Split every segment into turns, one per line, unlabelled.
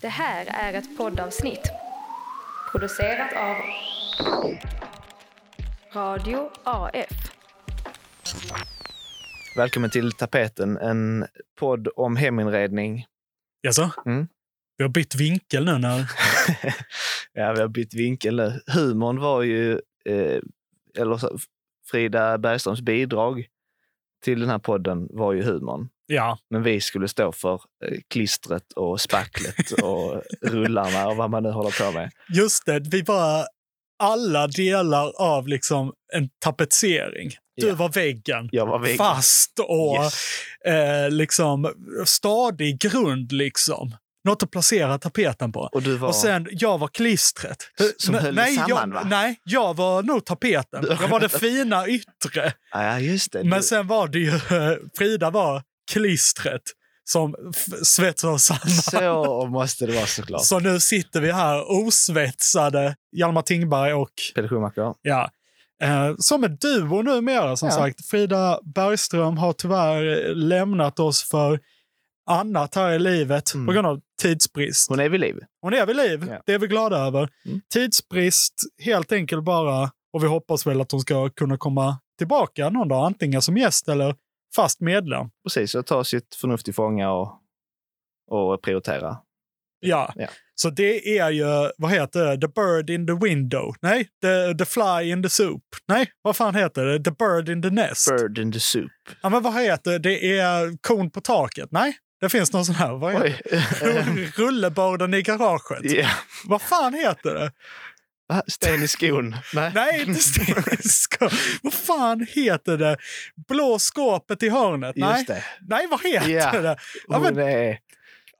Det här är ett poddavsnitt producerat av Radio AF.
Välkommen till Tapeten, en podd om heminredning.
Jaså?
Mm.
Vi har bytt vinkel nu när...
Ja, vi har bytt vinkel nu. Humorn var ju eh, eller så, Frida Bergströms bidrag till den här podden var ju humorn.
Ja,
Men vi skulle stå för eh, klistret och spacklet och rullarna och vad man nu håller på med.
just det. Vi bara... Alla delar av liksom en tapetsering. Du
Ja.
var väggen.
Jag var väggen.
Fast och
Yes.
eh, liksom stadig grund liksom. Något att placera tapeten på.
Och du var...
Och sen, jag var klistret.
S- som
N-
höll det
nej,
samman,
jag,
va?
Nej, jag var nog tapeten. Jag var det fina yttre.
Ah, ja, just det.
Men
Du-
sen var det ju, eh, Frida var klistret som f- svetsade oss samman.
Så måste det vara såklart.
Så nu sitter vi här osvetsade, Hjalmar Tingberg och,
Pelle Schumacher.
ja, eh, som en duo numera som
Ja.
sagt. Frida Bergström har tyvärr eh, lämnat oss för annat här i livet
Mm.
på grund av tidsbrist.
Hon är vid liv.
Hon är vid liv,
Ja.
det är vi glada över.
Mm.
Tidsbrist, helt enkelt bara, och vi hoppas väl att hon ska kunna komma tillbaka någon dag, antingen som gäst eller fast medlem.
Precis, och ta sitt förnuft till fånga och, och prioritera.
Ja.
Ja.
Så det är ju, vad heter det, The Bird in the Window? Nej, the, the Fly in the Soup? Nej, vad fan heter det? The Bird in the Nest?
Bird in the soup.
Ja, men vad heter det? Det är Kon på taket? Nej, det finns någon sån här. Vad heter
Oj.
det? Rulleborden i garaget?
Ja.
Vad fan heter det?
Va? Sten i skon.
Nej, inte stenskåp. Vad fan heter det? Blå skåpet i hörnet? Nej,
Just det.
Nej vad heter
Ja.
det? Ja,
Hon
men-
är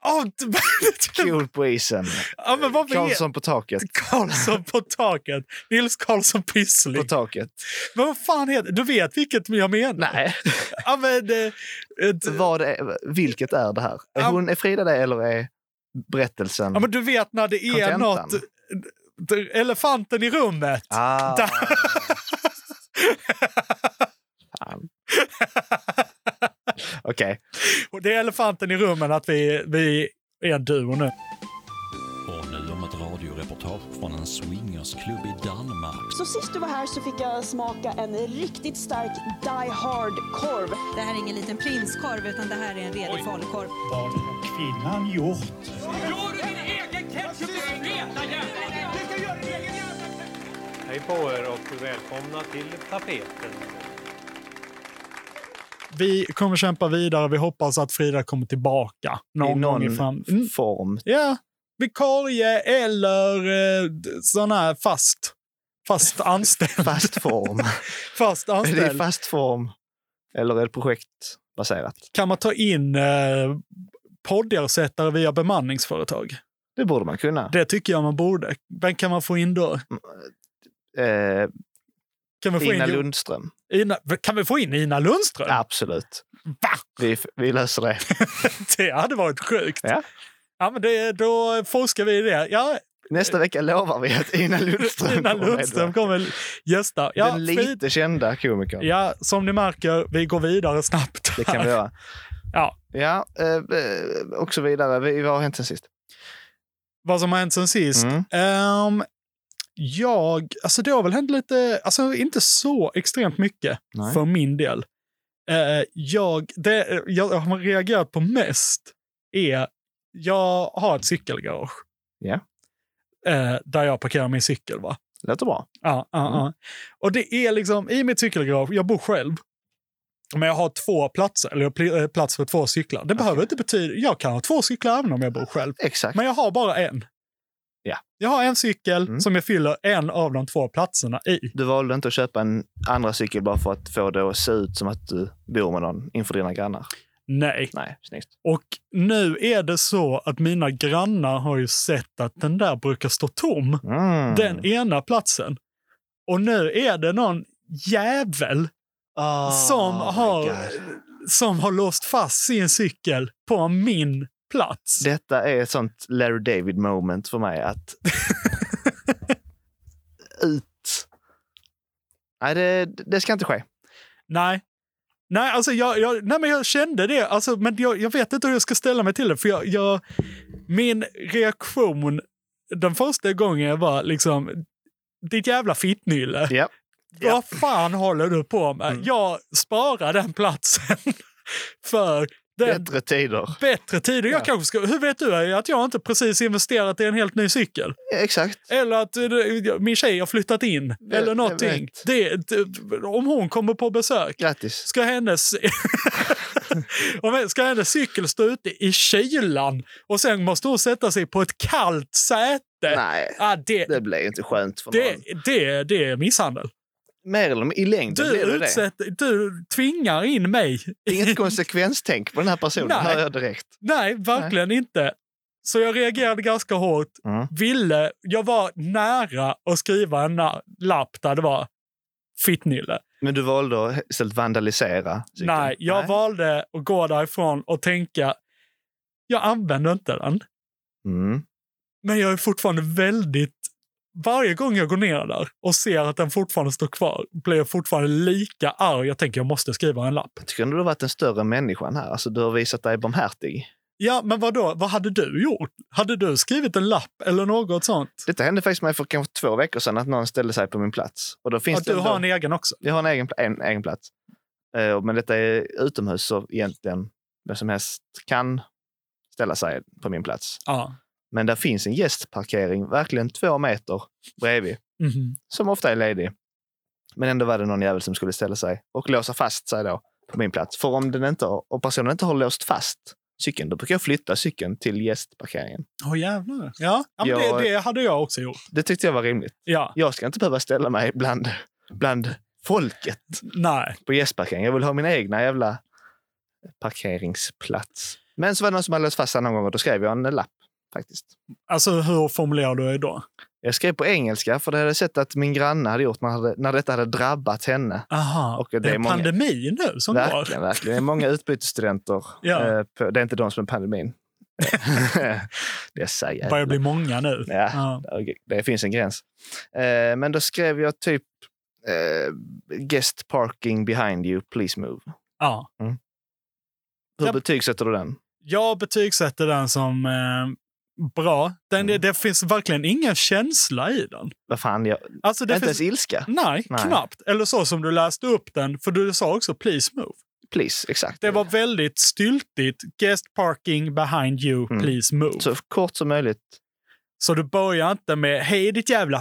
Oh,
cool på isen.
ja, men vad Karlsson.
Karlsson på taket.
Karlsson på taket. Nils Karlsson Pyssling.
På taket.
Men vad fan heter Du vet vilket jag menar?
Nej.
Ja, men, eh, ett,
Vad är, vilket är det här? Är
Ja.
hon är Frida det eller är berättelsen?
ja, men du vet när det är
Kontentan.
något... d- Elefanten i rummet.
Ah.
Där.
Fan. Okej.
Och Det är elefanten i rummet att vi, vi är en duo nu.
Och nu om ett radioreportage från en swingersklubb i Danmark.
Så sist du var här så fick jag smaka en riktigt stark Die Hard-korv.
Det här är ingen liten prinskorv utan det här är en redig falukorv.
Gör du din egen ketchup, din feta jävel! Du ska göra din egen jävla ketchup!
Hej på er och välkomna till tapeten.
Vi kommer kämpa vidare. Vi hoppas att Frida kommer tillbaka någon,
I någon
gång i fram. Mm,
form.
Ja, vikarie eller eh, d- sån här fast. Fast anställd.
Fast form.
fast
är det i
anställd.
fast form eller är det projektbaserat?
Kan man ta in eh, poddersättare via bemanningsföretag?
Det borde man kunna.
Det tycker jag man borde. Vem kan man få in då?
Eh,
Kan vi få
Ina
in,
Lundström.
Ina, kan vi få in Ina Lundström?
Absolut.
Va?
Vi, vi löser det.
Det hade varit sjukt.
Ja.
Ja, men det, då forskar vi i det. Ja,
Nästa vecka lovar vi att Ina Lundström
Ina
kommer
Lundström
medverka.
kommer gästa. Ja,
Den
fri-
lite kända komikern.
ja, som ni märker, vi går vidare snabbt.
Det kan vi göra.
Ja.
Ja, eh, eh, och så vidare. Vi, vad har hänt sen sist?
Vad som har hänt sen sist?
Mm.
Ehm, jag, alltså det har väl hänt lite, alltså inte så extremt mycket
Nej.
för min del. Eh, jag, det jag har reagerat på mest är, jag har ett cykelgarage.
Ja.
Eh, där jag parkerar min cykel. Va?
Låter bra.
Ja, ja,
Mm.
ja. Och det är liksom i mitt cykelgarage, jag bor själv, men jag har två platser, eller jag pl- eh, plats för två cyklar. Det behöver inte betyda, jag kan ha två cyklar även om jag bor själv.
Exakt.
Men jag har bara en.
Ja.
Jag har en cykel
Mm.
som jag fyller en av de två platserna i.
Du valde inte att köpa en andra cykel bara för att få det att se ut som att du bor med någon inför dina grannar.
Nej.
Nej, snyggt.
Och nu är det så att mina grannar har ju sett att den där brukar stå tom.
Mm.
Den ena platsen. Och nu är det någon jävel
Ah,
som,
my
har,
God.
som har låst fast sin cykel på min plats.
Detta är ett sånt Larry David moment för mig att... Ut! Nej, det, det ska inte ske.
Nej. Nej, alltså jag, jag, nej, men jag kände det. Alltså, men jag, jag vet inte hur jag ska ställa mig till det. För jag, jag, Min reaktion den första gången var liksom, ditt jävla fittnylle.
Ja. Ja. Mm.
Vad fan håller du på med? Jag sparar den platsen för den
Bättre tider.
bättre tider. Jag kanske ska, hur vet du att jag inte precis investerat i en helt ny cykel?
Ja, Exakt.
Eller att eh, min tjej har flyttat in.
Jag-
eller
jag
någonting.
vet.
Det, det, om hon kommer på besök
Grattis.
ska hennes... Om jag- ska hennes cykel stå ute i kylan och sen måste hon sätta sig på ett kallt säte?
Nej,
Ah, det, det,
det blev inte skönt för
det,
någon.
det, är misshandel.
Mer eller mindre, i längden blir
Du,
det det.
utsätt, du tvingar in mig.
Inget konsekvenstänk på den här personen,
Nej.
hör jag direkt.
Nej, verkligen inte. Så jag reagerade ganska hårt.
Mm.
Ville, jag var nära att skriva en na- lapp där det var fittnylle.
Men du valde att istället vandalisera cykeln?
Nej, jag valde att gå därifrån och tänka, jag använder inte den.
Mm.
Men jag är fortfarande väldigt... Varje gång jag går ner där och ser att den fortfarande står kvar blir jag fortfarande lika arg. Jag tänker jag måste skriva en lapp.
Jag tycker ändå du har varit den större människan här. Alltså, du har visat dig barmhärtig.
Ja, men vad då? Vad hade du gjort? Hade du skrivit en lapp eller något sånt?
Detta hände faktiskt mig för kanske två veckor sedan, att någon ställde sig på min plats. Och då finns
Att
det
du
ändå-
har en egen också?
Jag har en egen, pla- en, egen plats. Eh, men detta är utomhus, så egentligen vem som helst kan ställa sig på min plats.
Ja.
Men där finns en gästparkering, verkligen två meter bredvid,
Mhm.
som ofta är ledig. Men ändå var det någon jävel som skulle ställa sig och låsa fast sig då på min plats. För om den inte har, och personen inte har låst fast cykeln, då brukar jag flytta cykeln till gästparkeringen.
Åh jävlar. Ja, ja men
Jag-
Det, det hade jag också gjort.
Det tyckte jag var rimligt.
Ja,
Jag ska inte behöva ställa mig bland, bland folket
nej.
på gästparkering. Jag vill ha min egna jävla parkeringsplats. Men så var det någon som hade låst fast sig någon gång och då skrev jag en lapp faktiskt.
Alltså hur formulerar du dig då?
Jag skrev på engelska för det hade jag sett att min granne hade gjort när, hade, när detta hade drabbat henne.
Aha,
Och det
det är
är
en
många-
pandemi nu som går.
Verkligen, verkligen. Det är många utbytesstudenter.
Ja.
eh, på, det är inte de som är pandemin. det är så jävla-
Det börjar bli många nu.
Ja. Okej, Det finns en gräns. Eh, Men då skrev jag typ eh, guest parking behind you, please move.
ja.
Hur
Japp.
betygsätter du den?
jag betygsätter den som eh, bra. Den,
Mm.
Det finns verkligen ingen känsla i den.
Vad fan, jag,
Alltså, det
inte
finns,
ens ilska.
nej,
Nej.
knappt. Eller så som du läste upp den, för du sa också please move.
Please, exakt.
Det var väldigt styltigt. Guest parking behind you,
Mm.
please move. Så.
Så kort som möjligt.
du börjar inte med hej ditt jävla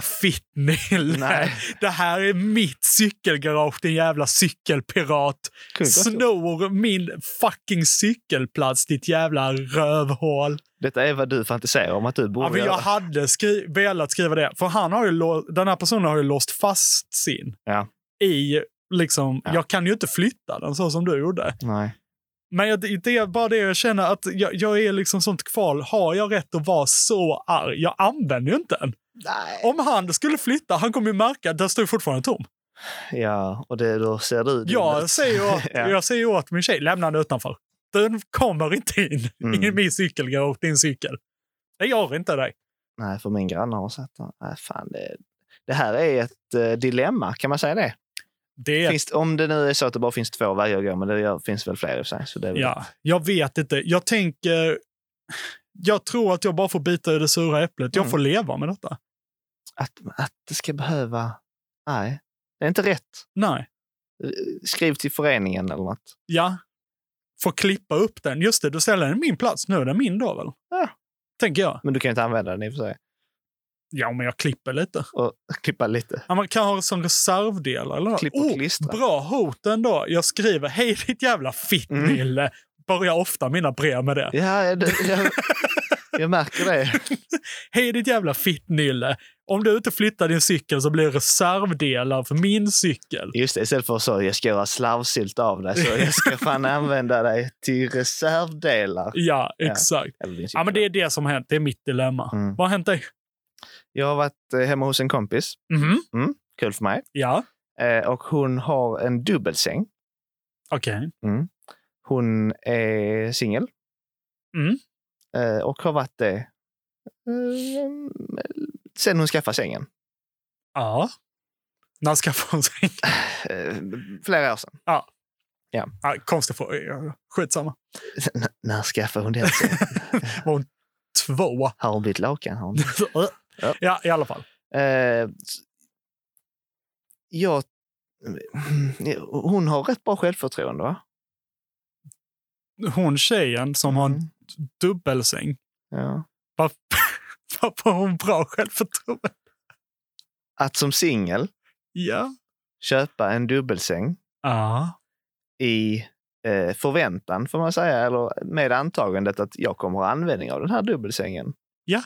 fittnylle.
Nej.
Det här är mitt cykelgarage din jävla cykelpirat.
Kung,
Snor min fucking cykelplats ditt jävla
Oh,
rövhål.
Detta är vad du fantiserar om att du borde
Ja, men jag
göra.
hade skri- velat skriva det, för han har ju lå- den här personen har ju låst fast sin
Ja.
i, liksom,
Ja.
jag kan ju inte flytta den så som du gjorde.
Nej.
Men jag, det är bara det jag känner, att jag, jag är liksom sånt kval. Har jag rätt att vara så arg? Jag använder ju inte den.
Nej.
Om han skulle flytta, han kommer ju märka att den står ju fortfarande tom.
Ja, och det, då ser du... din-
Jag säger, åt,
Ja.
jag säger åt min tjej, lämna den utanför. Den kommer inte in
Mm.
i min cykel, jag åt din cykel. Det gör inte dig.
Nej, för min granne har sett den. Nej, fan, det, det här är ett eh, dilemma, kan man säga det?
Det är
Finns, om det nu är så att det bara finns två vägar att gå, men det gör, finns väl fler i och för sig. Så det är väl,
Ja, jag vet inte. Jag tänker... Jag tror att jag bara får bita i det sura äpplet. Jag
Mm.
får leva med detta.
att, att det ska behöva... Nej, det är inte rätt.
Nej.
Skriv till föreningen eller något.
Ja. Får klippa upp den. Just det, du ställer den i min plats. Nu är den min då väl?
Ja.
Tänker jag.
Men du kan ju inte använda den i och för sig.
Ja, men jag klipper lite.
Och klippa lite.
Ja, man kan ha det som reservdelar eller något.
Klipp och klistra.
Bra hot ändå. Jag skriver hej ditt jävla fittnylle.
Mm.
Börjar ofta mina brev med det.
Ja, det, jag, jag märker det.
Hej ditt jävla fittnylle. Om du inte flyttar din cykel så blir det reservdelar för min cykel.
Just det, istället för så jag ska göra slarvsylt av dig så jag ska fan använda dig till reservdelar.
Ja,
Ja.
exakt.
Eller din
Ja, men det är det som har hänt. Det är mitt dilemma.
Mm.
Vad har hänt dig?
Jag har varit eh, hemma hos en kompis,
Mhm.
kul för mig.
Ja,
Eh, Och hon har en dubbelsäng.
okej.
Hon är singel.
Mm.
Eh, Och har varit det eh, sen hon skaffade sängen.
Ja. När skaffade hon sig?
Eh, Flera år sedan.
Ah, Ja, konstig fråga. Skitsamma.
N- när skaffade hon den sängen?
Var hon två.
Här har hon bytt lakan. Här har hon...
ja, i alla fall.
Eh, s- jag... eh, Hon har rätt bra självförtroende, va?
Hon tjejen som har en
Mm.
dubbelsäng,
Ja.
varför, varför har hon bra självförtroende?
Att som singel
Ja.
köpa en dubbelsäng
Ja.
i eh, förväntan, får man säga, eller med antagandet att jag kommer ha användning av den här dubbelsängen.
Ja.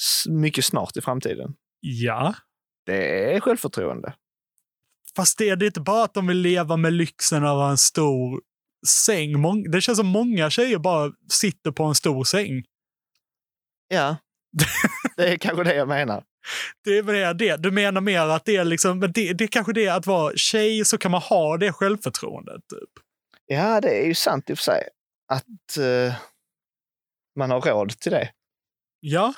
S- mycket snart i framtiden.
Ja.
Det är självförtroende.
Fast det är det inte bara att de vill leva med lyxen av att ha en stor säng. Mång- Det känns som många tjejer bara sitter på en stor säng.
Ja, det är kanske det jag menar.
Det är väl det- det. Du menar mer att det är liksom, men det, det är kanske det att vara tjej så kan man ha det självförtroendet. Typ.
Ja, det är ju sant i och för sig att eh, man har råd till det.
Ja,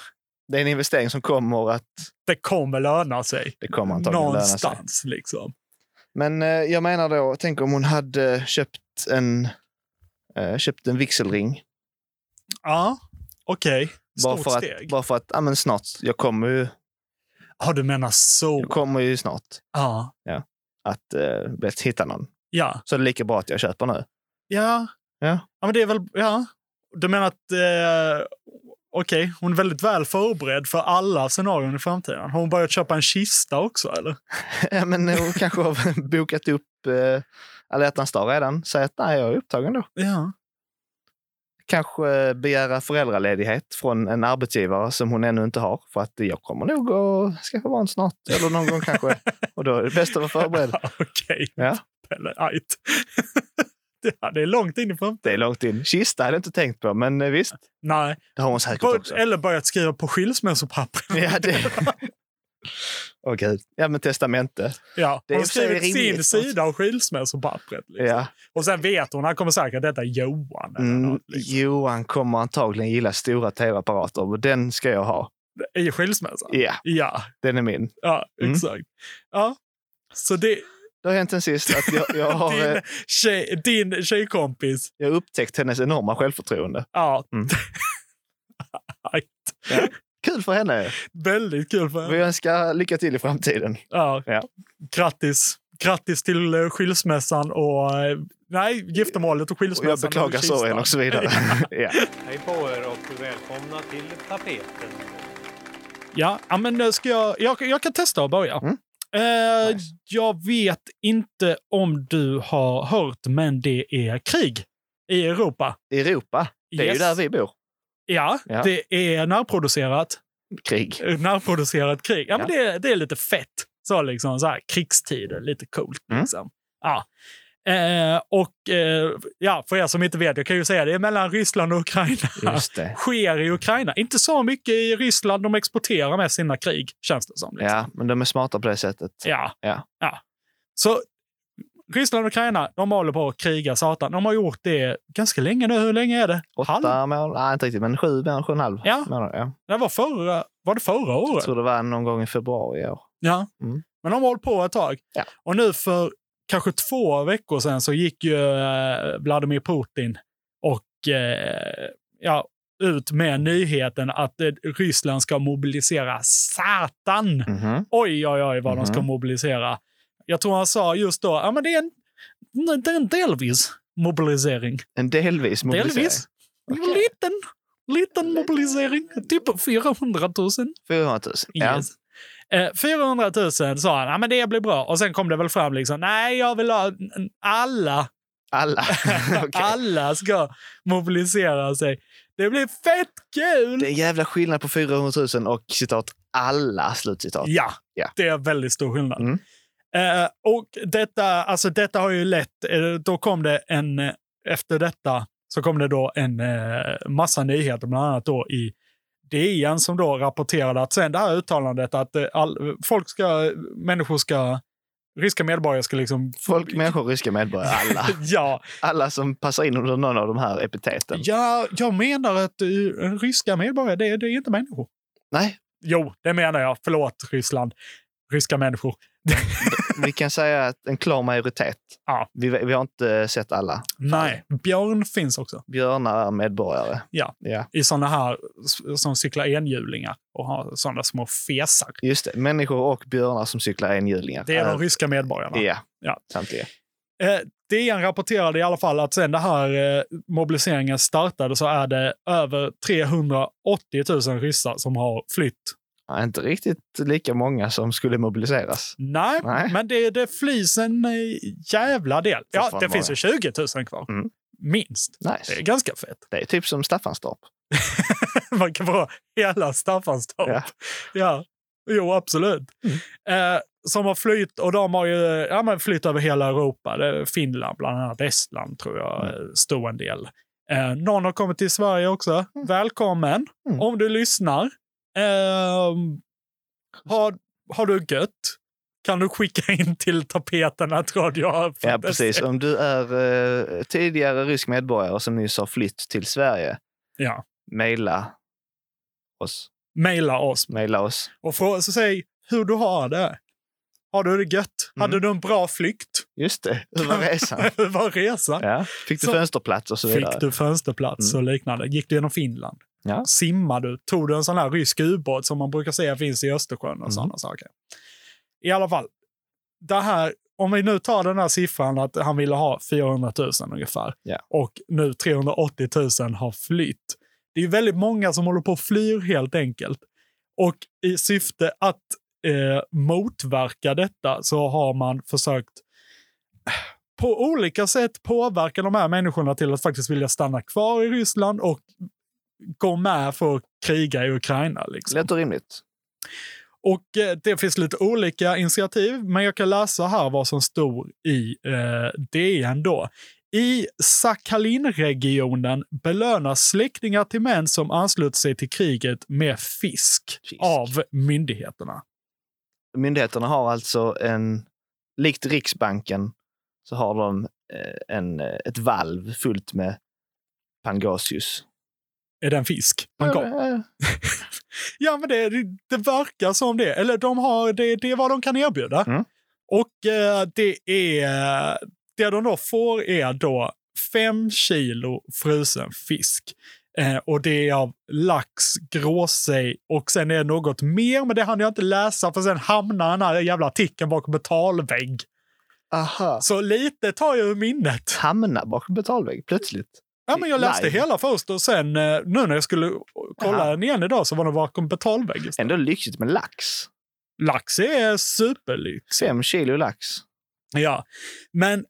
Det är en investering som kommer att...
det kommer löna sig.
Det kommer antagligen löna sig.
Någonstans liksom.
Men eh, jag menar då, tänk om hon hade köpt en, eh, köpt en vigselring.
Ja, okej.
Bara
Stort
för att,
steg.
bara för att ja, men snart, jag kommer, ju,
Ja, du menar så.
jag kommer ju snart
Ja.
att eh, vet, hitta någon.
Ja.
Så det är lika bra att jag köper nu.
Ja.
Ja.
ja, men det är väl... Ja. Du menar att... Eh, Okej, hon är väldigt väl förberedd för alla scenarion i framtiden. Har hon börjat köpa en kista också, eller?
Ja, men hon kanske har bokat upp eh, alla hjärtans dag redan. Säg att nej, jag är upptagen då.
Ja.
Kanske eh, begära föräldraledighet från en arbetsgivare som hon ännu inte har. För att jag kommer nog att skaffa barn snart. Eller någon gång kanske. Och då är det bäst att vara förberedd.
Okej.
Ja.
Pelle, ajt. det, ja, det är långt in i framtiden.
Det är långt in. Kista hade jag inte tänkt på, men eh, visst.
Nej.
Det har hon säkert också.
Bör, eller börjat skriva på skilsmässopappren.
Ja, det... Åh gud. Ja, men testamente.
Ja,
Det är
hon har
i och för sig
skrivit sin
rimligt.
sida av skilsmässopappret. Liksom.
Ja.
Och sen vet hon, han kommer säkert att detta är Johan. Eller
Mm,
något, liksom.
Johan kommer antagligen gilla stora tv-apparater och den ska jag ha.
I skilsmässan?
Ja,
Ja,
den är min.
ja
Mm.
exakt. Ja. Så det, det
Det har hänt sen sist att jag, jag har
din,
eh,
tjej, din tjejkompis,
jag har upptäckt hennes enorma självförtroende.
ja.
Mm.
Aj,
Kul för henne!
Väldigt kul för
Vi
henne.
önskar lycka till i framtiden.
Ja.
Ja.
Grattis. Grattis till eh, skilsmässan och... eh, Nej, giftermålet och
Och
skilsmässan.
jag beklagar
över kistan.
sorgen och så vidare. ja.
Hej på er och välkomna till tapeten.
Ja, ja, men eh, ska jag, jag, jag kan testa att börja.
Mm.
Eh,
Nice.
Jag vet inte om du har hört, men det är krig i Europa.
I Europa, det är
Yes.
ju där vi bor.
Ja,
Ja.
det är närproducerat,
Krig.
eh, närproducerat krig. Ja, Men det, det är lite fett. Så liksom, så här, krigstider, lite coolt.
Mm.
Liksom. Ja. Eh, och eh, ja, för er som inte vet, jag kan ju säga det är mellan Ryssland och Ukraina.
Just det.
Sker i Ukraina. Inte så mycket i Ryssland, de exporterar med sina krig, känns det som. liksom.
Ja, men de är smarta på det sättet.
Ja.
Ja.
Så Ryssland och Ukraina, de håller på att kriga satan. De har gjort det ganska länge nu. Hur länge är det? Halv?
Åtta månader, nej inte riktigt, men sju månader, sju och en halv
Ja.
månad. Ja.
Det var förra, var det förra
Jag
året?
tror det var någon gång i februari i år.
Ja.
Mm.
Men de har hållit på ett tag.
Ja.
Och nu för kanske två veckor sedan så gick ju eh, Vladimir Putin och eh, ja, ut med nyheten att eh, Ryssland ska mobilisera satan.
Mhm.
oj, oj, oj vad de ska
Mhm.
mobilisera. Jag tror han sa just då, ja men det är en, det är en delvis mobilisering.
En delvis mobilisering.
Delvis. En
Okej.
Liten, liten mobilisering. Typ 400 000.
400 000. Ja.
Yes. Eh, 400 000 sa han, ja men det blir bra. Och sen kom det väl fram liksom, nej jag vill ha n- n- alla,
Alla. Okej.
alla ska mobilisera sig. Det blir fett kul!
Det är en jävla skillnad på 400 000 och citat alla slutcitat.
Ja,
Ja.
det är väldigt stor skillnad.
Mm.
Eh, och detta, alltså detta har ju lett, eh, då kom det en, eh, efter detta så kom det då en eh, massa nyheter, bland annat då i DN som då rapporterade att sen det här uttalandet att eh, all, folk ska, människor ska, ryska medborgare ska liksom,
Folk, människor, ryska medborgare, alla.
ja,
Alla som passar in under någon av de här epiteten.
ja, jag menar att eh, ryska medborgare, det, det är inte människor.
Nej,
Jo, det menar jag. Förlåt, Ryssland. Ryska människor.
Vi kan säga att en klar majoritet.
Ja.
Vi, vi har inte sett alla.
Nej, björn finns också
Björnar är medborgare.
Ja.
ja.
i sådana här s- som cyklar enhjulingar och har sådana små fesar.
Just det. Människor och björnar som cyklar enhjulingar.
Det är de ryska medborgarna.
Äh, Ja.
Ja.
Samtliga.
Eh, DN rapporterade i alla fall att sen det här eh, mobiliseringen startade så är det över 380 000 ryssar som har flytt.
Ja, inte riktigt lika många som skulle mobiliseras.
Nej,
Nej.
men det, det flyr en eh, jävla del. Ja, det
Fortfarande
finns ju 20 000 kvar.
Mm.
Minst. Det är
Nice.
ganska fett.
Det är typ som Staffanstorp.
Man kan vara hela Staffanstorp.
Ja.
Ja. Jo, absolut.
Mm.
Eh, som har flytt, och de har ju ja, men flytt över hela Europa. Det är Finland, bland annat Estland, tror jag,
Mm.
eh, stod en del. Eh, någon har kommit till Sverige också. Välkommen,
Mm.
om du lyssnar. Eh, har, har du gött? Kan du skicka in till tapeten att radio
Ja, precis. Om du är eh, tidigare rysk medborgare som nyss har flytt till Sverige,
Ja.
mejla oss.
Maila oss
Mejla oss.
Och fråga, så säg hur du har det. Har du det gött?
Mm.
Hade du en bra flykt?
Just det, hur var resan?
Hur var resan?
Ja. Fick du
Så-
fönsterplats och så vidare? Mm.
Fick du fönsterplats och liknande? Gick du genom Finland?
Ja.
Simmade du? Tog du en sån här rysk ubåt som man brukar säga finns i Östersjön och
Mm.
sådana saker? I alla fall, det här, om vi nu tar den här siffran att han ville ha 400 000 ungefär
Ja.
och nu 380 000 har flytt. Det är ju väldigt många som håller på och flyr helt enkelt. Och i syfte att eh, motverka detta så har man försökt på olika sätt påverka de här människorna till att faktiskt vilja stanna kvar i Ryssland och gå med för att kriga i Ukraina. Liksom.
Låter rimligt.
Och eh, det finns lite olika initiativ, men jag kan läsa här vad som stod i eh, DN då. I Sakhalinregionen belönas släktingar till män som ansluter sig till kriget med fisk,
Fisk.
av myndigheterna.
Myndigheterna har alltså en, likt Riksbanken, så har de eh, en, eh, ett valv fullt med pangasius.
Är det en fisk? Man kom.
Eh,
Ja, men det, det verkar som det. Eller de har, det, det är vad de kan erbjuda.
Mm.
Och eh, det är... Det de då får är då fem kilo frusen fisk. Eh, och det är av lax, gråsej och sen är det något mer, men det hann jag inte läsa för sen hamnar den här jävla artikeln bakom betalvägg.
Aha.
Så lite tar jag ur minnet.
Hamna bakom betalvägg plötsligt.
Ja, men jag läste
Live.
hela först och sen eh, nu när jag skulle kolla
Aha.
den igen idag så var den bakom betalvägg. istället.
Ändå lyxigt med lax.
Lax är superlyx.
Fem kilo lax.
Ja, men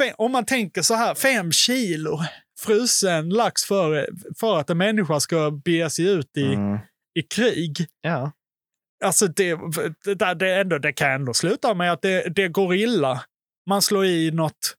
fe- om man tänker så här, fem kilo frusen lax för, för att en människa ska bege sig ut i,
Mm.
i krig.
Ja.
Alltså det, det, där- det, är ändå, det kan ändå sluta med att det, det går illa. Man slår i något,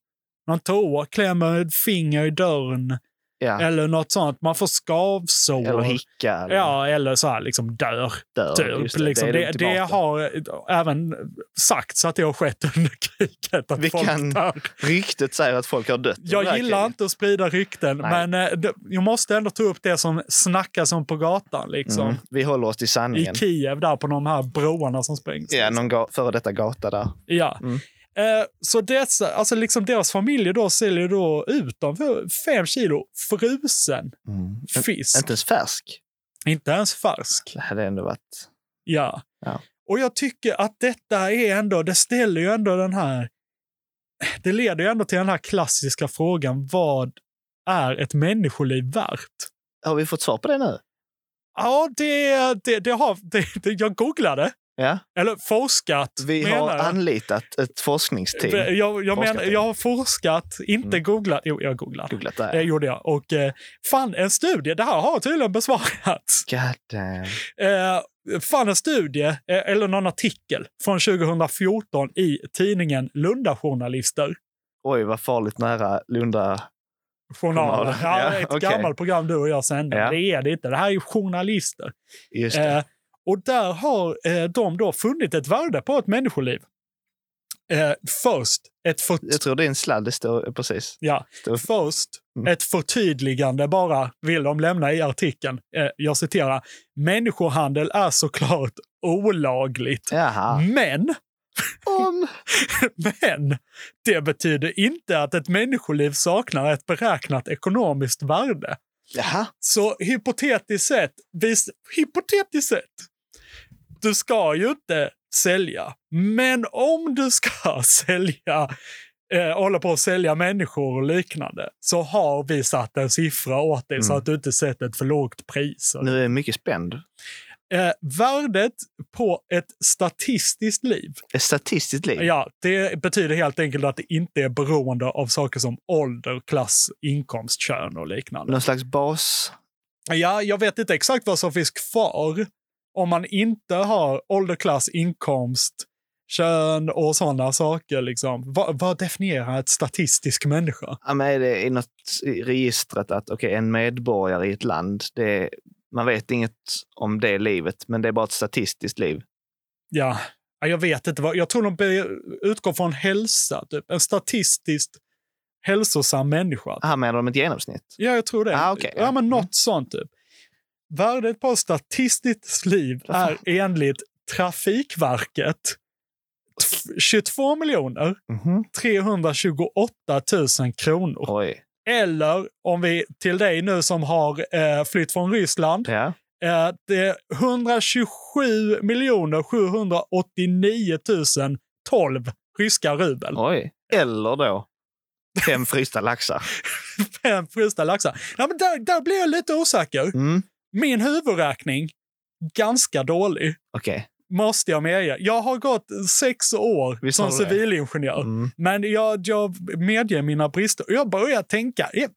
någon tå, klämmer ett finger i dörren
ja.
eller något sånt. Man får skavsår.
Eller hicka. Eller
Ja, eller så här liksom dör.
dör.
Typ.
Just
Det, liksom, det, det,
ultimata.
har även sagts att det har skett under kriget. Att
Vi
folk
kan-
dör.
Ryktet säger att folk har dött. i det
Jag
här
gillar
kriget.
inte att sprida rykten,
Nej.
men eh, det- jag måste ändå ta upp det som snackas om på gatan. Liksom.
Mm. Vi håller oss till sanningen.
I Kiev, där på de här broarna som sprängs.
Ja, någon ga- före detta gata där.
Ja.
Mm.
Eh, så dessa, alltså liksom deras familjer då säljer då ut dem för fem kilo frusen fisk.
Mm. Inte ens färsk.
Inte ens färsk.
Det hade ändå varit...
Ja.
Ja.
Och jag tycker att detta är ändå, det ställer ju ändå den här, det leder ju ändå till den här klassiska frågan, vad är ett människoliv värt?
Har vi fått svar på det nu?
Ja, det, det, det har... Det, det, jag googlade.
Ja.
Eller forskat,
Vi har
menar jag.
anlitat ett forskningsteam.
jag, jag,
forskat Mm.
menar,
i.
jag har forskat, inte googlat. Jo, jag googlade.
Googlat där.
Det gjorde jag. Och eh, fann en studie. Det här har tydligen besvarats.
God damn.
Eh, fann en studie, eh, eller någon artikel, från 2014 i tidningen Lunda Journalister.
Oj, vad farligt nära Lunda.
Journal.
Journal.
Ja,
Ja,
ett
okej.
gammalt program du och jag sände.
Ja.
Det är det inte. Det här är ju journalister.
Just det.
Eh, och där har eh, de då funnit ett värde på ett människoliv. Eh, först, ett för,
Jag tror det är en sladd. Det står precis.
ja,
Står-
först
Mm.
ett förtydligande bara vill de lämna i artikeln. Eh, jag citerar. Människohandel är såklart olagligt,
Jaha.
men Mm.
Om...
Men det betyder inte att ett människoliv saknar ett beräknat ekonomiskt värde.
Jaha.
Så hypotetiskt sett, vis, hypotetiskt sett, du ska ju inte sälja. Men om du ska sälja, eh, hålla på att sälja människor och liknande, så har vi satt en siffra åt dig så
Mm.
att du inte sätter ett för lågt pris.
Nu är jag mycket spänd.
Eh, värdet på ett statistiskt liv,
Ett statistiskt liv?
ja, det betyder helt enkelt att det inte är beroende av saker som ålder, klass, inkomst, kön och liknande.
Någon slags bas?
Ja, jag vet inte exakt vad som finns kvar om man inte har ålder, klass, inkomst, kön och sådana saker. Liksom. Vad, vad definierar ett statistisk människa?
Ja, men är det i något i registret att okej, en medborgare i ett land, det är, man vet inget om det livet, men det är bara ett statistiskt liv.
Ja, ja, jag vet inte. Vad, jag tror de be- utgår från hälsa, typ. en statistiskt hälsosam människa.
Här menar de ett genomsnitt.
Ja, jag tror det.
Ah, okej.
ja, men
Mm.
något sånt typ. Värdet på ett statistiskt liv är enligt Trafikverket t- 22 miljoner 328 000 kronor.
Oj.
Eller om vi till dig nu som har eh, flytt från Ryssland.
Ja.
Eh, det är 127 miljoner 789 012 ryska rubel.
Oj. Eller då fem frysta laxar.
Fem frysta laxar. Ja, men där, där blir jag lite osäker.
Mm.
Min huvudräkning, ganska dålig.
Okej.
Måste jag medge. Jag har gått sex år
Visst
som
har du det?
civilingenjör.
Mm.
Men jag, jag medger mina brister. Och jag börjar tänka, eh,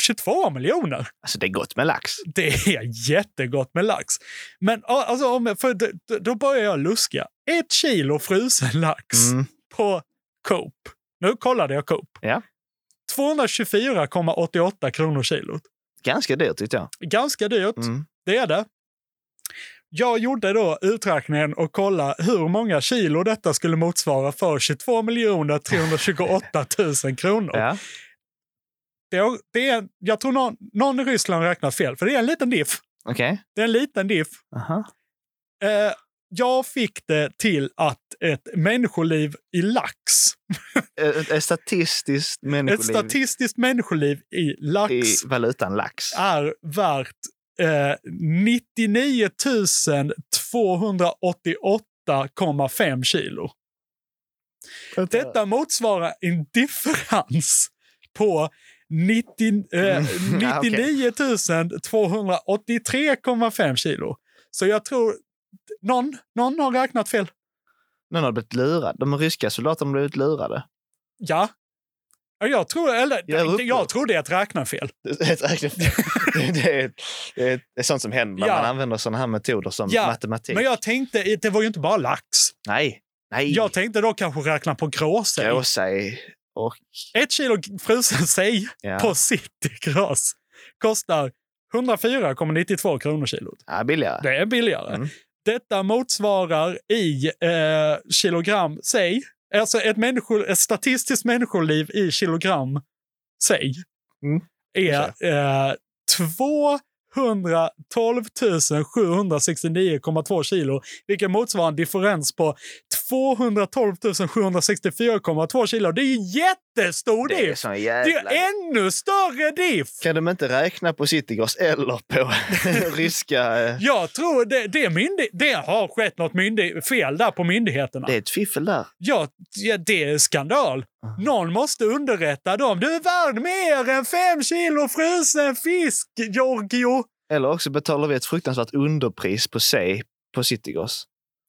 22 miljoner,
Alltså det är gott med lax.
det är jättegott med lax. Men ja, alltså, om jag- för, d- d- då börjar jag luska. Ett kilo frusen lax
Mm.
på Coop. Nu kollade jag Coop.
Ja.
224,88 kronor kilot.
Ganska dyrt tyckte jag.
Ganska dyrt,
Mm.
det är det. Jag gjorde då uträkningen och kolla hur många kilo detta skulle motsvara för 22 328 000 kronor.
Ja.
Det är, det är, jag tror någon, någon i Ryssland räknar fel, för det är en liten diff.
Okej.
Det är en liten diff.
Aha.
Eh, jag fick det till att ett människoliv i lax,
Ett, ett statistiskt
ett
människoliv
statistiskt människoliv i lax,
i valutan lax.
är värt eh, 99 288,5 kilo.
Eh,
Detta motsvarar en differens på 90, eh,
Mm, ja, okej.
99 283,5 kilo. Så jag tror någon, någon har räknat fel.
Någon har blivit lurad. De ryska soldaterna blev lurade.
Ja. Ja, Jag tror, eller,
Jag är
jag,
upprörd.
jag tror det är ett räknarfel.
Ett räkne- det, är, det är- det är sånt som händer när
Ja.
man använder sådana här metoder som
Ja,
matematik.
Men jag tänkte, det var ju inte bara lax.
Nej, nej.
Jag tänkte då kanske räkna på gråsej.
Gråsej och...
Ett kilo frusen sej
Ja.
på citygross kostar 104,92 kronor kilot.
Ja, billigare.
Det är billigare.
Mm.
Detta motsvarar i eh, kilogram sej, alltså ett, människo, ett statistiskt människoliv i kilogram sej,
Mm.
är eh, 212 769,2 kilo, vilket motsvarar en differens på 212 764,2 kilo. Det är ju jättestor
Det är
diff!
sån
Det är ju
jävla...
ännu större diff!
Kan de inte räkna på Citygross eller på ryska... eh,
Jag tror det, det, är myndi- det har skett något myndi- fel där på myndigheterna.
Det är ett fiffel där.
Ja, ja, det är skandal. Någon måste underrätta dem. Du är värd mer än fem kilo frusen fisk, Giorgio!
Eller också betalar vi ett fruktansvärt underpris på sig på Citygross.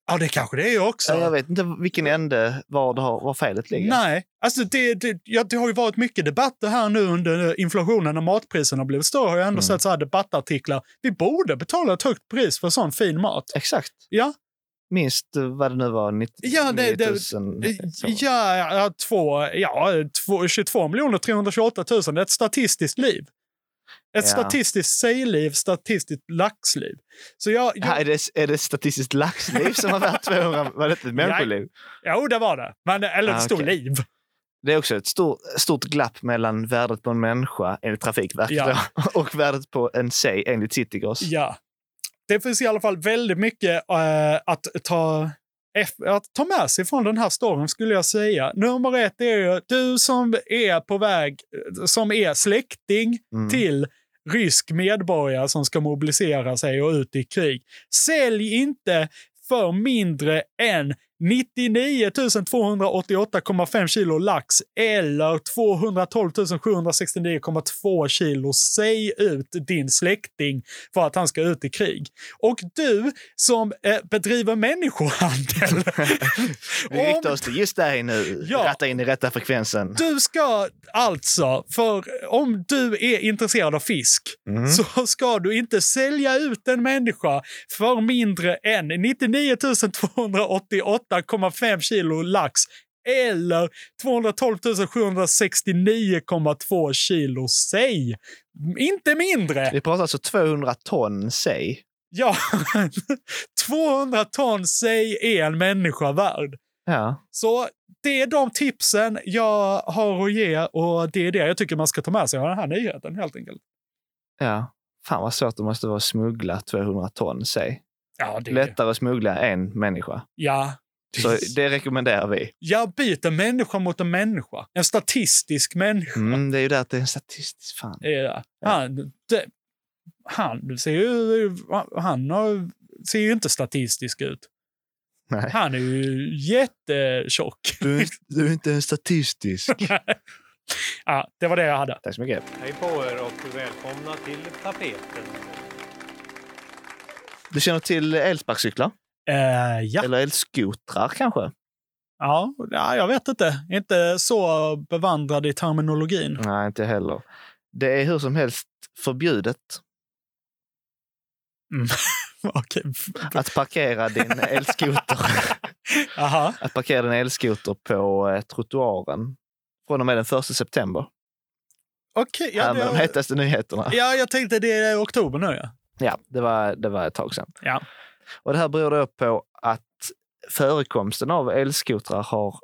Ja, det kanske det är också.
Ja, Jag vet inte vilken ände var, det har, var felet ligger.
Nej, alltså det, det, ja, det har ju varit mycket debatter här nu under eh, inflationen och matpriserna har blivit större. Har jag ändå
Mm.
sett så här debattartiklar. Vi borde betala ett högt pris för sån fin mat.
Exakt.
Ja,
Minst eh, vad det nu var, 90
Ja, det- det-
000, så.
Eh, Ja, ja, två, ja två, 22 miljoner 328 000. Det är ett statistiskt liv. Ett
Ja.
statistiskt sejliv, statistiskt laxliv. Så jag, jag,
Ja, är, det, är det statistiskt laxliv som har värt 200? Var det inte ett människoliv?
Jo, det var det. Men, eller
Ah,
det stod
okej.
liv.
Det är också ett stor, stort glapp mellan värdet på en människa enligt Trafikverket
Ja.
då, och värdet på en sig enligt Citygross.
Ja. Det finns i alla fall väldigt mycket eh, att ta eff- att ta med sig från den här storyn skulle jag säga. Nummer ett är ju du som är på väg, eh, som är släkting
Mm.
till rysk medborgare som ska mobilisera sig och ut i krig. Sälj inte för mindre än 99 288,5 kilo lax eller 212 769,2 kilo. Säg ut din släkting för att han ska ut i krig. Och du som eh, bedriver människohandel.
Vi
om-
riktar oss till just dig nu.
Ja.
Ratta in i rätta frekvensen.
du ska alltså, för om du är intresserad av fisk
Mm.
så ska du inte sälja ut en människa för mindre än 99 288,5 kilo lax eller 212 769,2 kilo säg. Inte mindre!
Vi pratar alltså 200 ton säg.
Ja, 200 ton säg är en människa värd.
Ja.
Så det är de tipsen jag har att ge och det är det jag tycker man ska ta med sig av den här nyheten helt enkelt.
ja. Fan vad svårt det måste vara att smuggla 200 ton säg.
Ja, det
Lättare att smuggla en människa.
Ja.
Så det rekommenderar vi.
Jag byter människa mot en människa. En statistisk människa.
Mm, det är ju där att det är en statistisk fan.
Ja. Han, det, han, ser ju, han har, ser ju inte statistisk ut.
Nej.
Han är ju jättetjock.
Du, är inte- du är inte en statistisk.
Ja, det var det jag hade.
Tack så mycket.
Hej på er och välkomna till tapeten.
Du känner till elsparkcyklar?
Eh, ja.
Eller elskotrar kanske?
Ja, ja, jag vet inte. Inte så bevandrad i terminologin.
Nej, inte heller. Det är hur som helst förbjudet
Okej.
att parkera din elskoter.
Aha.
att parkera din elskoter på eh, trottoaren från och med den 1 september.
Okej.
Ja,
ja,
Här med de
det-
hetaste nyheterna. Ja,
ja, jag tänkte det är oktober nu. Ja.
det, var, det var ett tag sedan.
Ja.
Och det här beror då på att förekomsten av elskotrar har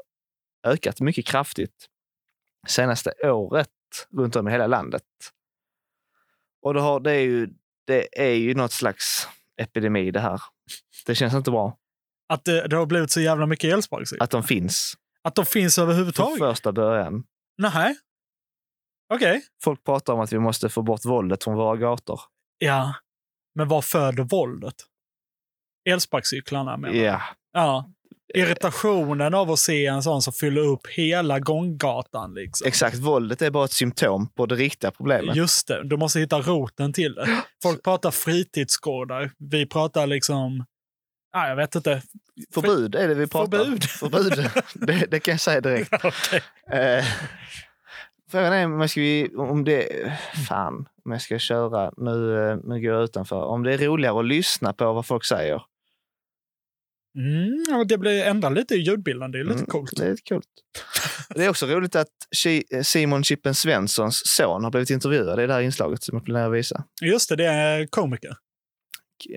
ökat mycket kraftigt senaste året runt om i hela landet. Och det, har, det, är ju, det är ju något slags epidemi det här. Det känns inte bra
Att det, det har blivit så jävla mycket elsparkcyklar. Att,
att de finns
att de finns
från
överhuvudtaget?
första början.
Nej. Okej.
Folk pratar om att vi måste få bort våldet från våra gator.
Ja. Men vad föder våldet? Elsparkcyklarna menar jag.
Ja,
Ja. Irritationen av att se en sån som fyller upp hela gånggatan. Liksom.
exakt. Våldet är bara ett symptom på det riktiga problemet.
Just det, du måste hitta roten till det. Folk pratar fritidsgårdar. Vi pratar liksom... Ah, jag vet inte.
Förbud är det vi pratar om.
Förbud.
Förbud. Det, det kan jag säga direkt.
Okej.
Eh, Frågan är om jag ska... Om det, fan, om jag ska köra... Nu, eh, nu går jag utanför. Om det är roligare att lyssna på vad folk säger.
Mm, ja, det blir ändra lite i ljudbilden. Det är lite
Mm,
coolt.
Det är lite coolt. Det är också roligt att Ki- Simon Chippen Svenssons son har blivit intervjuad i det här inslaget som jag planerar att visa.
Just det, det är komiker.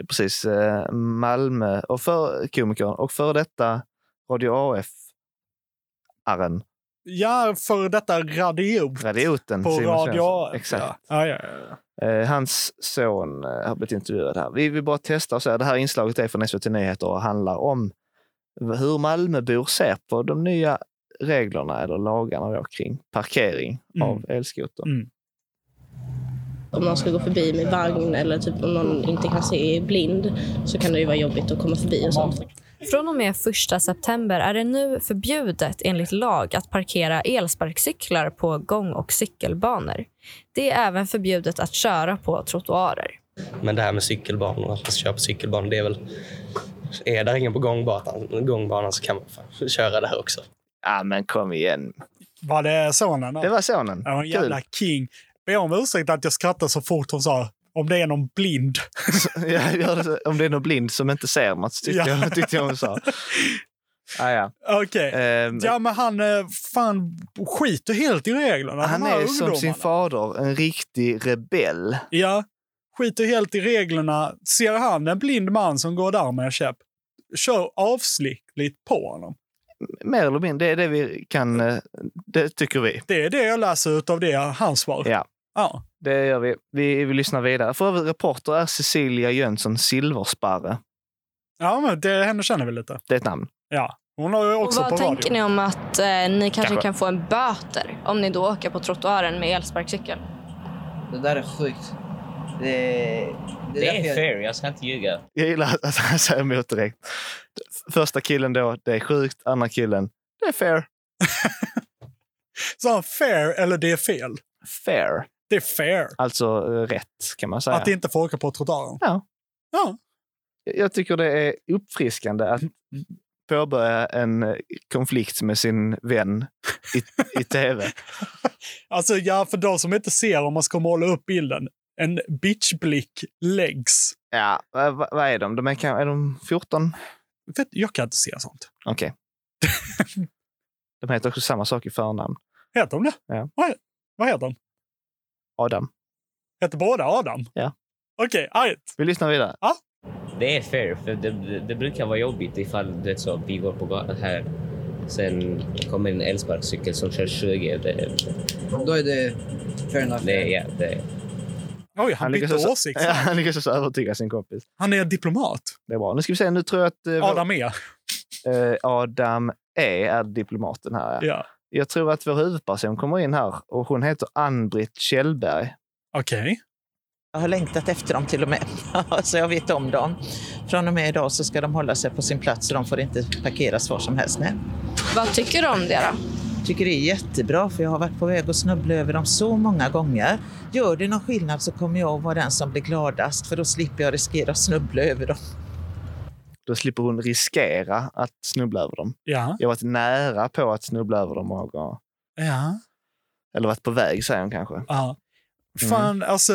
precis eh, Malmö och för, komikern och före detta Radio AF-aren,
Ja, för detta radio.
radioten.
På
Simon
radio.
Svensson.
Ja.
Exakt.
Ja, ja, ja.
Eh, hans son eh, har blivit intervjuad här. Vi vill bara testa och säga det här inslaget är från SVT Nyheter och handlar om hur Malmöbor ser på de nya reglerna eller lagarna då, kring parkering av elskoter.
Mm.
om någon ska gå förbi med vagn eller typ om någon inte kan se är blind så kan det ju vara jobbigt att komma förbi och sånt.
Från och med 1 september är det nu förbjudet enligt lag att parkera elsparkcyklar på gång och cykelbanor. Det är även förbjudet att köra på trottoarer.
Men det här med cykelbanor, att man ska köra på cykelbanor, det är väl... Är där ingen på gångbatan, gångbanan så kan man fan köra där också.
Ja, men kom igen.
Var det sonen? då?
Det var sonen.
Ja, en
Kul.
jävla king. Be om ursäkt att jag skrattar så fort hon sa om det är någon blind.
Ja, gör det. om det är någon blind som inte ser något, tyckte,
Ja.
jag, tyckte jag hon sa. Ah, ja.
Okej.
Ehm,
Ja, men han eh, fan skiter helt i reglerna.
han
de här
är som sin
ungdomarna.
fader, en riktig rebell.
Ja, skiter helt i reglerna. Ser han en blind man som går där med en käpp, kör avsiktligt på honom.
Mer eller mindre, det är det vi kan... eh, Det tycker vi.
Det är det jag läser ut av det han svar.
Ja,
Ja.
det gör vi. Vi, vi lyssnar vidare. För övrigt, reporter är Cecilia Jönsson Silversparre.
ja, men det henne känner vi lite.
Det är ett namn.
Ja, hon har ju
Och
också
vad
på
tänker
radio.
ni om att eh, ni kanske,
Kanske.
kan få en böter om ni då åker på trottoaren med elsparkcykel?
Det där är sjukt. Det, det,
Det är
därför jag-
fair, jag ska inte ljuga.
Jag gillar att han säger emot direkt. Första killen då, det är sjukt. Andra killen, det är fair.
Så fair eller det är fel?
Fair.
Det är fair.
alltså eh, rätt kan man säga.
Att inte få åka på trottoaren.
Ja.
ja.
Jag- Jag tycker det är uppfriskande att påbörja en eh, konflikt med sin vän i, i tv.
Alltså, ja, för de som inte ser, om man ska måla upp bilden, en bitchblick läggs.
Ja, vad, vad är de? de är, kan- är de 14?
Vet, jag kan inte se sånt.
Okej. de heter också samma sak i förnamn.
Heter de det?
Ja.
Vad, vad heter de?
Adam.
Heter båda Adam?
Ja.
Okej, argt.
Vi lyssnar vidare.
Ja.
Det är fair, för det, det, det brukar vara jobbigt ifall du vet, så, vi går på gatan här. Sen kommer en elsparkcykel som kör 20. Det,
Då är det fair enough.
det, ja, det,
Oj, han, bytte
lyckas också-
åsikt.
Ja, han lyckas också övertyga sin kompis.
Han är diplomat.
Det är bra. Nu ska vi se, nu tror jag att... eh, vår-
Adam är.
Eh, Adam E är diplomaten här.
Ja.
Jag tror att vår huvudperson kommer in här och hon heter Ann-Britt Kjellberg.
Okej.
Jag har längtat efter dem till och med, så jag vet om dem. Från och med idag så ska de hålla sig på sin plats och de får inte parkeras var som helst. Nej.
Vad tycker du om det då?
tycker det är jättebra för jag har varit på väg att snubbla över dem så många gånger. Gör det någon skillnad så kommer jag att vara den som blir gladast för då slipper jag riskera att snubbla över dem.
Då slipper hon riskera att snubbla över dem.
Ja.
Jag har varit nära på att snubbla över dem många gånger.
Ja.
Eller varit på väg, säger hon kanske.
ja.
Mm.
Fan, alltså,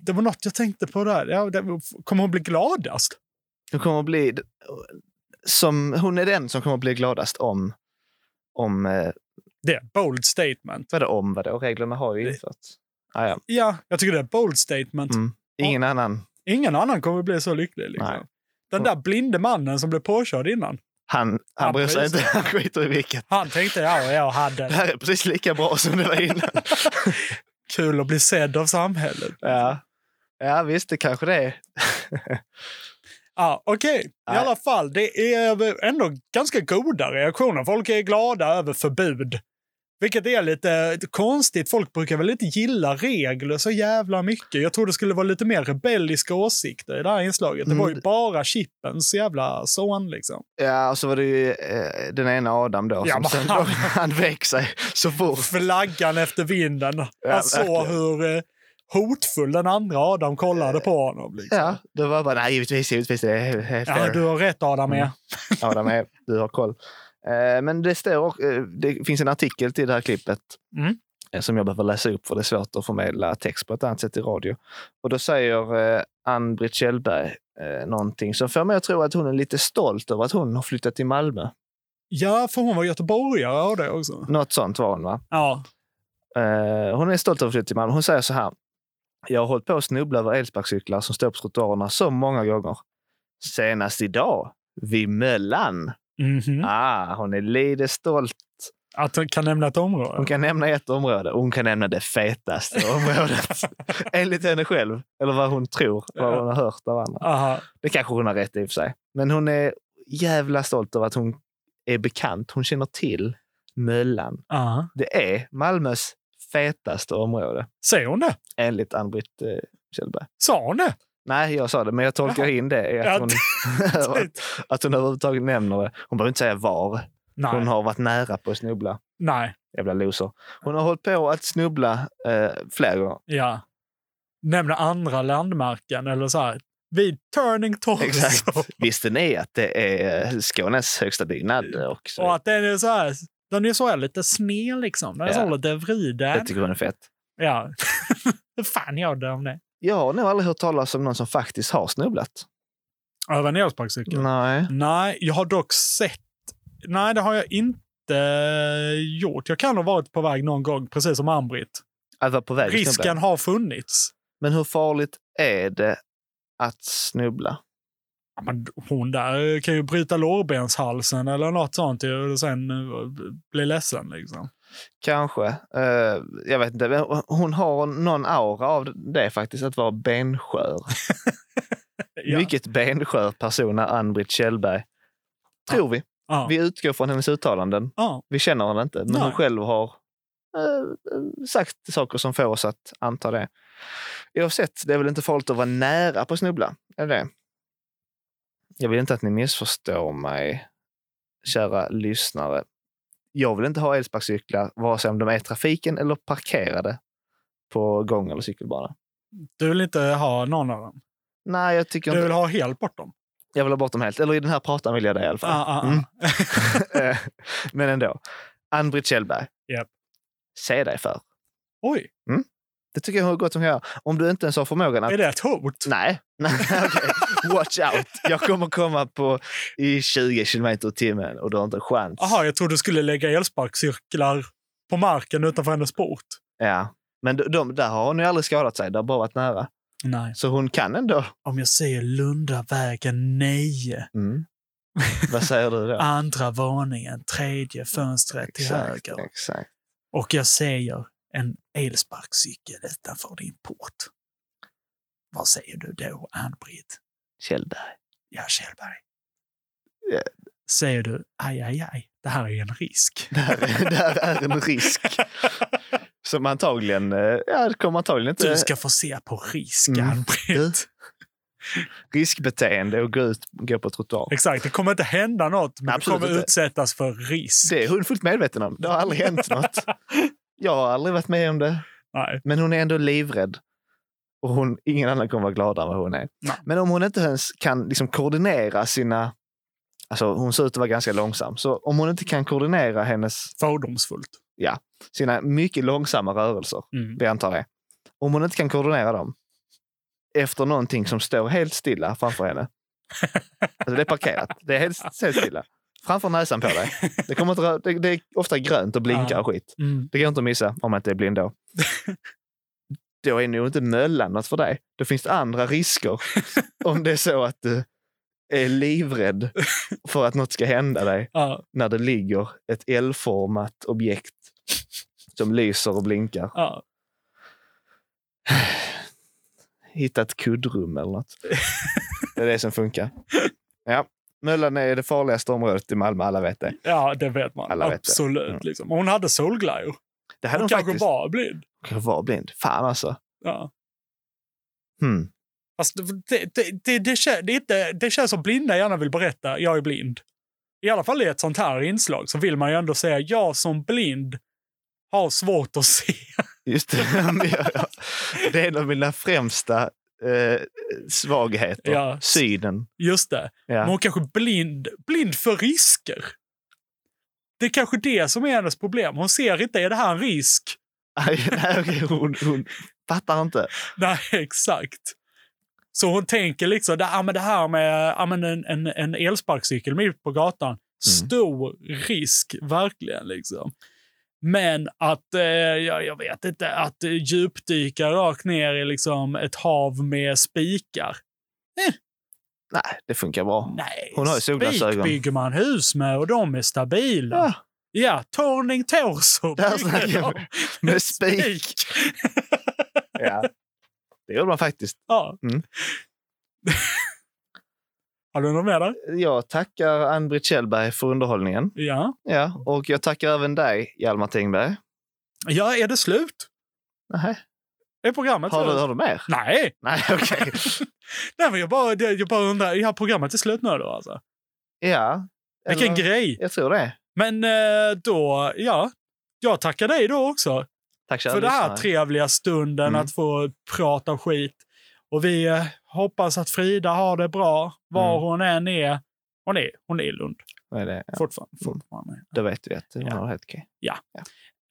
det var något jag tänkte på där. Ja, det, kommer hon bli gladast?
Hon kommer att bli... Som, hon är den som kommer att bli gladast om... om eh,
det är bold statement.
Vadå om vadå? Reglerna har ju införts. Ah, ja.
Ja, jag tycker det är ett bold statement.
Ingen annan.
Ingen annan kommer bli så lycklig. Liksom. Den där blinde mannen som blev påkörd innan.
Han, han bryr sig inte. Han skiter i vilket.
Han tänkte ja, jag hade
Det här är precis lika bra som det var innan.
Kul att bli sedd av samhället.
Ja, ja visst, det kanske det är.
Ja, Okej, i
Nej.
alla fall. Det är ändå ganska goda reaktioner. Folk är glada över förbud. Vilket är lite konstigt. Folk brukar väl inte gilla regler så jävla mycket. Jag tror det skulle vara lite mer rebelliska åsikter i det här inslaget. Det var
Mm.
ju bara chippens jävla son liksom.
Ja, och så var det ju eh, den ena Adam då.
Ja,
som
men
sen
han-
då, han vek sig så fort.
Flaggan efter vinden.
Ja,
Han såg
verkligen.
hur eh, hotfull den andra Adam kollade på honom. Liksom.
Ja, det var bara, nej givetvis, givetvis. Det är, det är
Ja,
fair.
du har rätt Adam. Mm.
Adam är, du har koll. Eh, Men det, står, och- eh, det finns en artikel till det här klippet
Mm.
eh, som jag behöver läsa upp för det är svårt att förmedla text på ett annat sätt i radio. Och då säger eh, Ann-Britt Kjellberg eh, någonting som får mig att tro att hon är lite stolt över att hon har flyttat till Malmö.
Ja, för hon var göteborgare av det också.
Något sånt var hon va?
Ja.
Eh, hon är stolt över att flytta till Malmö. Hon säger så här. Jag har hållit på att snubbla över elsparkcyklar som står på trottoarerna så många gånger. Senast idag, vid Möllan. Ah, hon är lite stolt.
Mhm. Att hon kan nämna ett område?
Hon kan nämna ett område. Hon kan nämna det fetaste området. Enligt henne själv. Eller vad hon tror. Vad hon har hört av andra.
Aha.
Det kanske hon har rätt i och för sig. Men hon är jävla stolt över att hon är bekant. Hon känner till Möllan.
Ja.
Det är Malmös fetaste område.
Säger hon det?
Enligt Ann-Britt eh, Kjellberg.
Sa hon det?
Nej, jag sa det, men jag tolkar
Jaha.
in det. i
Ja,
Att hon, att, att hon överhuvudtaget nämner det. Hon behöver inte säga var.
Nej.
Hon har varit nära på att snubbla.
Nej.
Jävla loser. Hon har hållit på att snubbla eh, flera gånger.
Ja. Nämna andra landmärken eller så här. Vid Turning Torso.
Exakt. Visste ni att det är eh, Skånes högsta byggnad? Och så,
Mm. Och att den är så här. Den är så här lite sned liksom. Den är så
Ja.
lite vriden.
det tycker hon är fett.
Ja. Hur fan gör det om det?
Jag har nog aldrig hört talas om någon som faktiskt har snubblat.
Över en elsparkcykel?
Nej.
Nej, jag har dock sett. Nej, det har jag inte gjort. Jag kan ha varit på väg någon gång, precis som Ann-Britt.
Att vara på väg att snubbla.
Risken har funnits.
Men hur farligt är det att snubbla?
Ja, men hon där kan ju bryta lårbenshalsen eller något sånt ju, och sen eh, bli ledsen. Liksom.
Kanske. Eh, jag vet inte. Men Hon har någon aura av det faktiskt, att vara benskör. Mycket benskör person är Ann-Britt Kjellberg. Tror vi. Vi utgår från hennes uttalanden.
Ja.
Vi känner henne inte, men hon
Nej.
själv har eh, sagt saker som får oss att anta det. Oavsett, det är väl inte farligt att vara nära på att snubbla? Är det det? Jag vill inte att ni missförstår mig, kära lyssnare. Jag vill inte ha elsparkcyklar, vare sig om de är i trafiken eller parkerade på gång eller cykelbana.
Du vill inte ha någon av dem?
Nej, jag tycker
Du
inte-
vill ha helt bort dem?
Jag vill ha bort dem helt. Eller i den här pratan vill jag det i alla fall.
Ah, ah, ah.
Eh, Men ändå. Ann-Britt Kjellberg.
Japp.
Se dig för.
Oj.
Mm. Det tycker jag hur gott som kan göra. Om du inte ens har förmågan att...
Är det ett hot?
Nej. Nej okej. Watch out. Jag kommer komma på i 20 kilometer i timmen och du har inte en chans.
Jaha, jag trodde du skulle lägga elsparkcirklar på marken utanför hennes port.
Ja. Men de, de, där har hon ju aldrig skadat sig. Det har bara varit nära.
Nej.
Så hon kan ändå.
Om jag säger Lundavägen 9,
Mm. Vad säger du då?
andra våningen, tredje fönstret till
Exakt,
höger.
Exakt.
Och jag säger en elsparkcykel utanför din port. Vad säger du då, Ann-Britt?
Kjellberg.
Ja, Kjellberg.
Ja.
Säger du aj, aj, aj, det här är en risk.
Det här, är- det här är en risk. Som antagligen, eh, ja, det Mm. kommer antagligen inte...
Du ska få se på risk, Ann-Britt.
riskbeteende och gå ut gå på trottoar.
Exakt, det kommer inte hända något, men
Absolut
du kommer
inte.
utsättas för risk.
Det är hon fullt medveten om. Det har aldrig hänt något. Jag har aldrig varit med om det.
Nej.
Men hon är ändå livrädd. Och hon, ingen annan kommer vara gladare än vad hon är.
Nej.
Men om hon inte ens kan liksom koordinera sina... Alltså hon ser ut att vara ganska långsam. Så om hon inte kan koordinera hennes...
Fördomsfullt.
Ja, sina mycket långsamma rörelser.
Mm.
Vi antar det. Om hon inte kan koordinera dem efter någonting som står helt stilla framför henne. Alltså det är parkerat. Det är helt, helt stilla. Framför näsan på dig. Det, kommer inte, rö- det, det är ofta grönt och blinkar och skit.
Mm.
Det går inte att missa om man inte är blind då. Då är nog inte möllan något för dig. Då finns det andra risker. Om det är så att du är livrädd för att något ska hända dig
Ja.
när det ligger ett L-format objekt som lyser och blinkar.
Ja.
Hitta ett kuddrum eller något. Det är det som funkar. Ja. Möllan är det farligaste området i Malmö, alla vet det.
Ja, det vet man.
Alla vet det.
Absolut.
Mm.
liksom. Hon hade solglajjor.
Det hade
Hon
hon
kanske
faktiskt.
var blind.
Jag var blind. Fan alltså.
Ja.
Hmm.
Alltså, det, det, det, det, kän, det, är inte, det känns som blinda gärna vill berätta jag är blind. I alla fall i ett sånt här inslag så vill man ju ändå säga jag som blind har svårt att se.
Just det. Ja, men jag- jag- det är en av mina främsta eh, svagheter.
Ja.
Synen.
Just det.
Ja.
Men hon kanske är blind, blind för risker. Det är kanske det som är hennes problem. Hon ser inte, är det här en risk?
Nej, nej, okej, hon, hon fattar inte.
Nej, exakt. Så hon tänker liksom, "Ja, men det här med ja, men en, en, en elsparkcykel mitt på
Mm.
gatan, stor risk verkligen. liksom. Men att, eh, jag, jag vet inte, att eh, djupdyka rakt ner i liksom ett hav med spikar.
Nej, det funkar bra.
Nej,
Hon har ju
spik
solglasögon. Ah.
bygger man hus med och de är stabila. Ja, Torning Torso
Där
bygger
snackar
de.
vi. Med spik. Ja. Det gjorde man faktiskt.
Ja.
Mm.
Har du något mer där?
Jag tackar Ann-Britt Kjellberg för underhållningen.
Ja.
Ja, och jag tackar även dig, Hjalmar Tingberg.
Ja, är det slut?
Nej.
Är programmet
Har du,
slut?
har du mer?
Nej!
Nej, okej.
Nej, men jag bara, det- jag bara undrar, är programmet är slut nu då alltså?
Ja.
Vilken
eller-
grej!
Jag tror det.
Men eh, då, ja. Jag tackar dig då också.
Tack kära
för den här
lyssnare.
trevliga stunden
Mm.
att få prata skit. Och vi eh, hoppas att Frida har det bra, var
Mm.
hon än är. Hon är, hon är i Lund
Vad är det? Ja. Mm.
fortfarande. fortfarande.
Det vet vi att hon har helt okej.
Ja.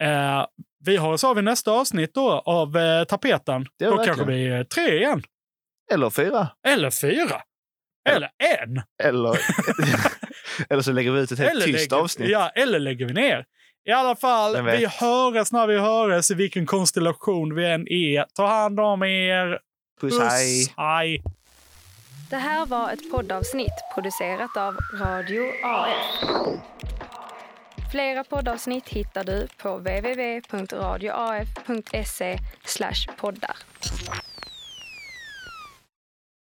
Eh, vi hörs av i nästa avsnitt då av eh, tapeten.
Det
Då
gör vi
kanske vi är tre igen.
Eller fyra.
Eller fyra. Eller en.
Eller, eller så lägger vi ut ett helt
Eller
tyst
lägger,
avsnitt.
Ja, eller lägger vi ner. I alla fall,
Vem vet?
vi hörs när vi hörs i vilken konstellation vi än är. Ta hand om er.
Puss, hej.
hej.
Det här var ett poddavsnitt producerat av Radio AF. Flera poddavsnitt hittar du på www.radioaf.se poddar.